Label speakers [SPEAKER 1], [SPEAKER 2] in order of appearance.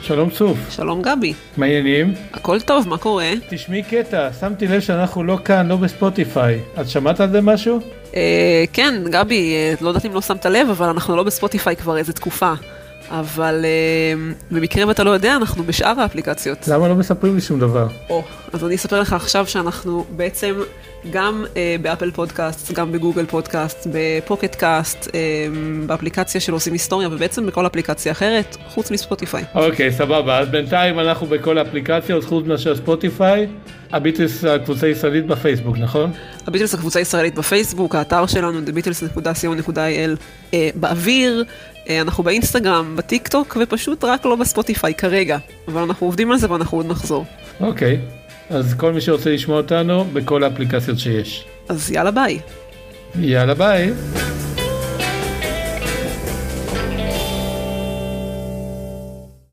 [SPEAKER 1] שלום צוף,
[SPEAKER 2] שלום גבי,
[SPEAKER 1] מה העניינים?
[SPEAKER 2] הכל טוב, מה קורה?
[SPEAKER 1] תשמעי קטע, שמתי לב שאנחנו לא כאן, לא בספוטיפיי. את שמעת על זה משהו?
[SPEAKER 2] אה, כן, גבי, אה, לא יודעת אם לא שמת לב, אבל אנחנו לא בספוטיפיי כבר איזה תקופה. אבל אה, במקרה ואתה לא יודע, אנחנו בשאר האפליקציות.
[SPEAKER 1] למה לא מספרים לי שום דבר?
[SPEAKER 2] או, אז אני אספר לך עכשיו שאנחנו בעצם גם אה, באפל פודקאסט, גם בגוגל פודקאסט, בפוקט קאסט, אה, באפליקציה של עושים היסטוריה, ובעצם בכל אפליקציה אחרת, חוץ מספוטיפיי.
[SPEAKER 1] אוקיי, סבבה, אז בינתיים אנחנו בכל האפליקציות, חוץ מאשר ספוטיפיי, הביטלס הקבוצה הישראלית בפייסבוק, נכון?
[SPEAKER 2] הביטלס הקבוצה הישראלית בפייסבוק, האתר שלנו, thebeatles.co.il אה, באוויר, אה, אנחנו באינסטגרם, בטיק טוק, ופשוט רק לא בספוטיפיי כרגע. אבל אנחנו עובדים על זה ואנחנו עוד נחזור.
[SPEAKER 1] אוקיי, אז כל מי שרוצה לשמוע אותנו, בכל האפליקציות שיש.
[SPEAKER 2] אז יאללה ביי.
[SPEAKER 1] יאללה ביי.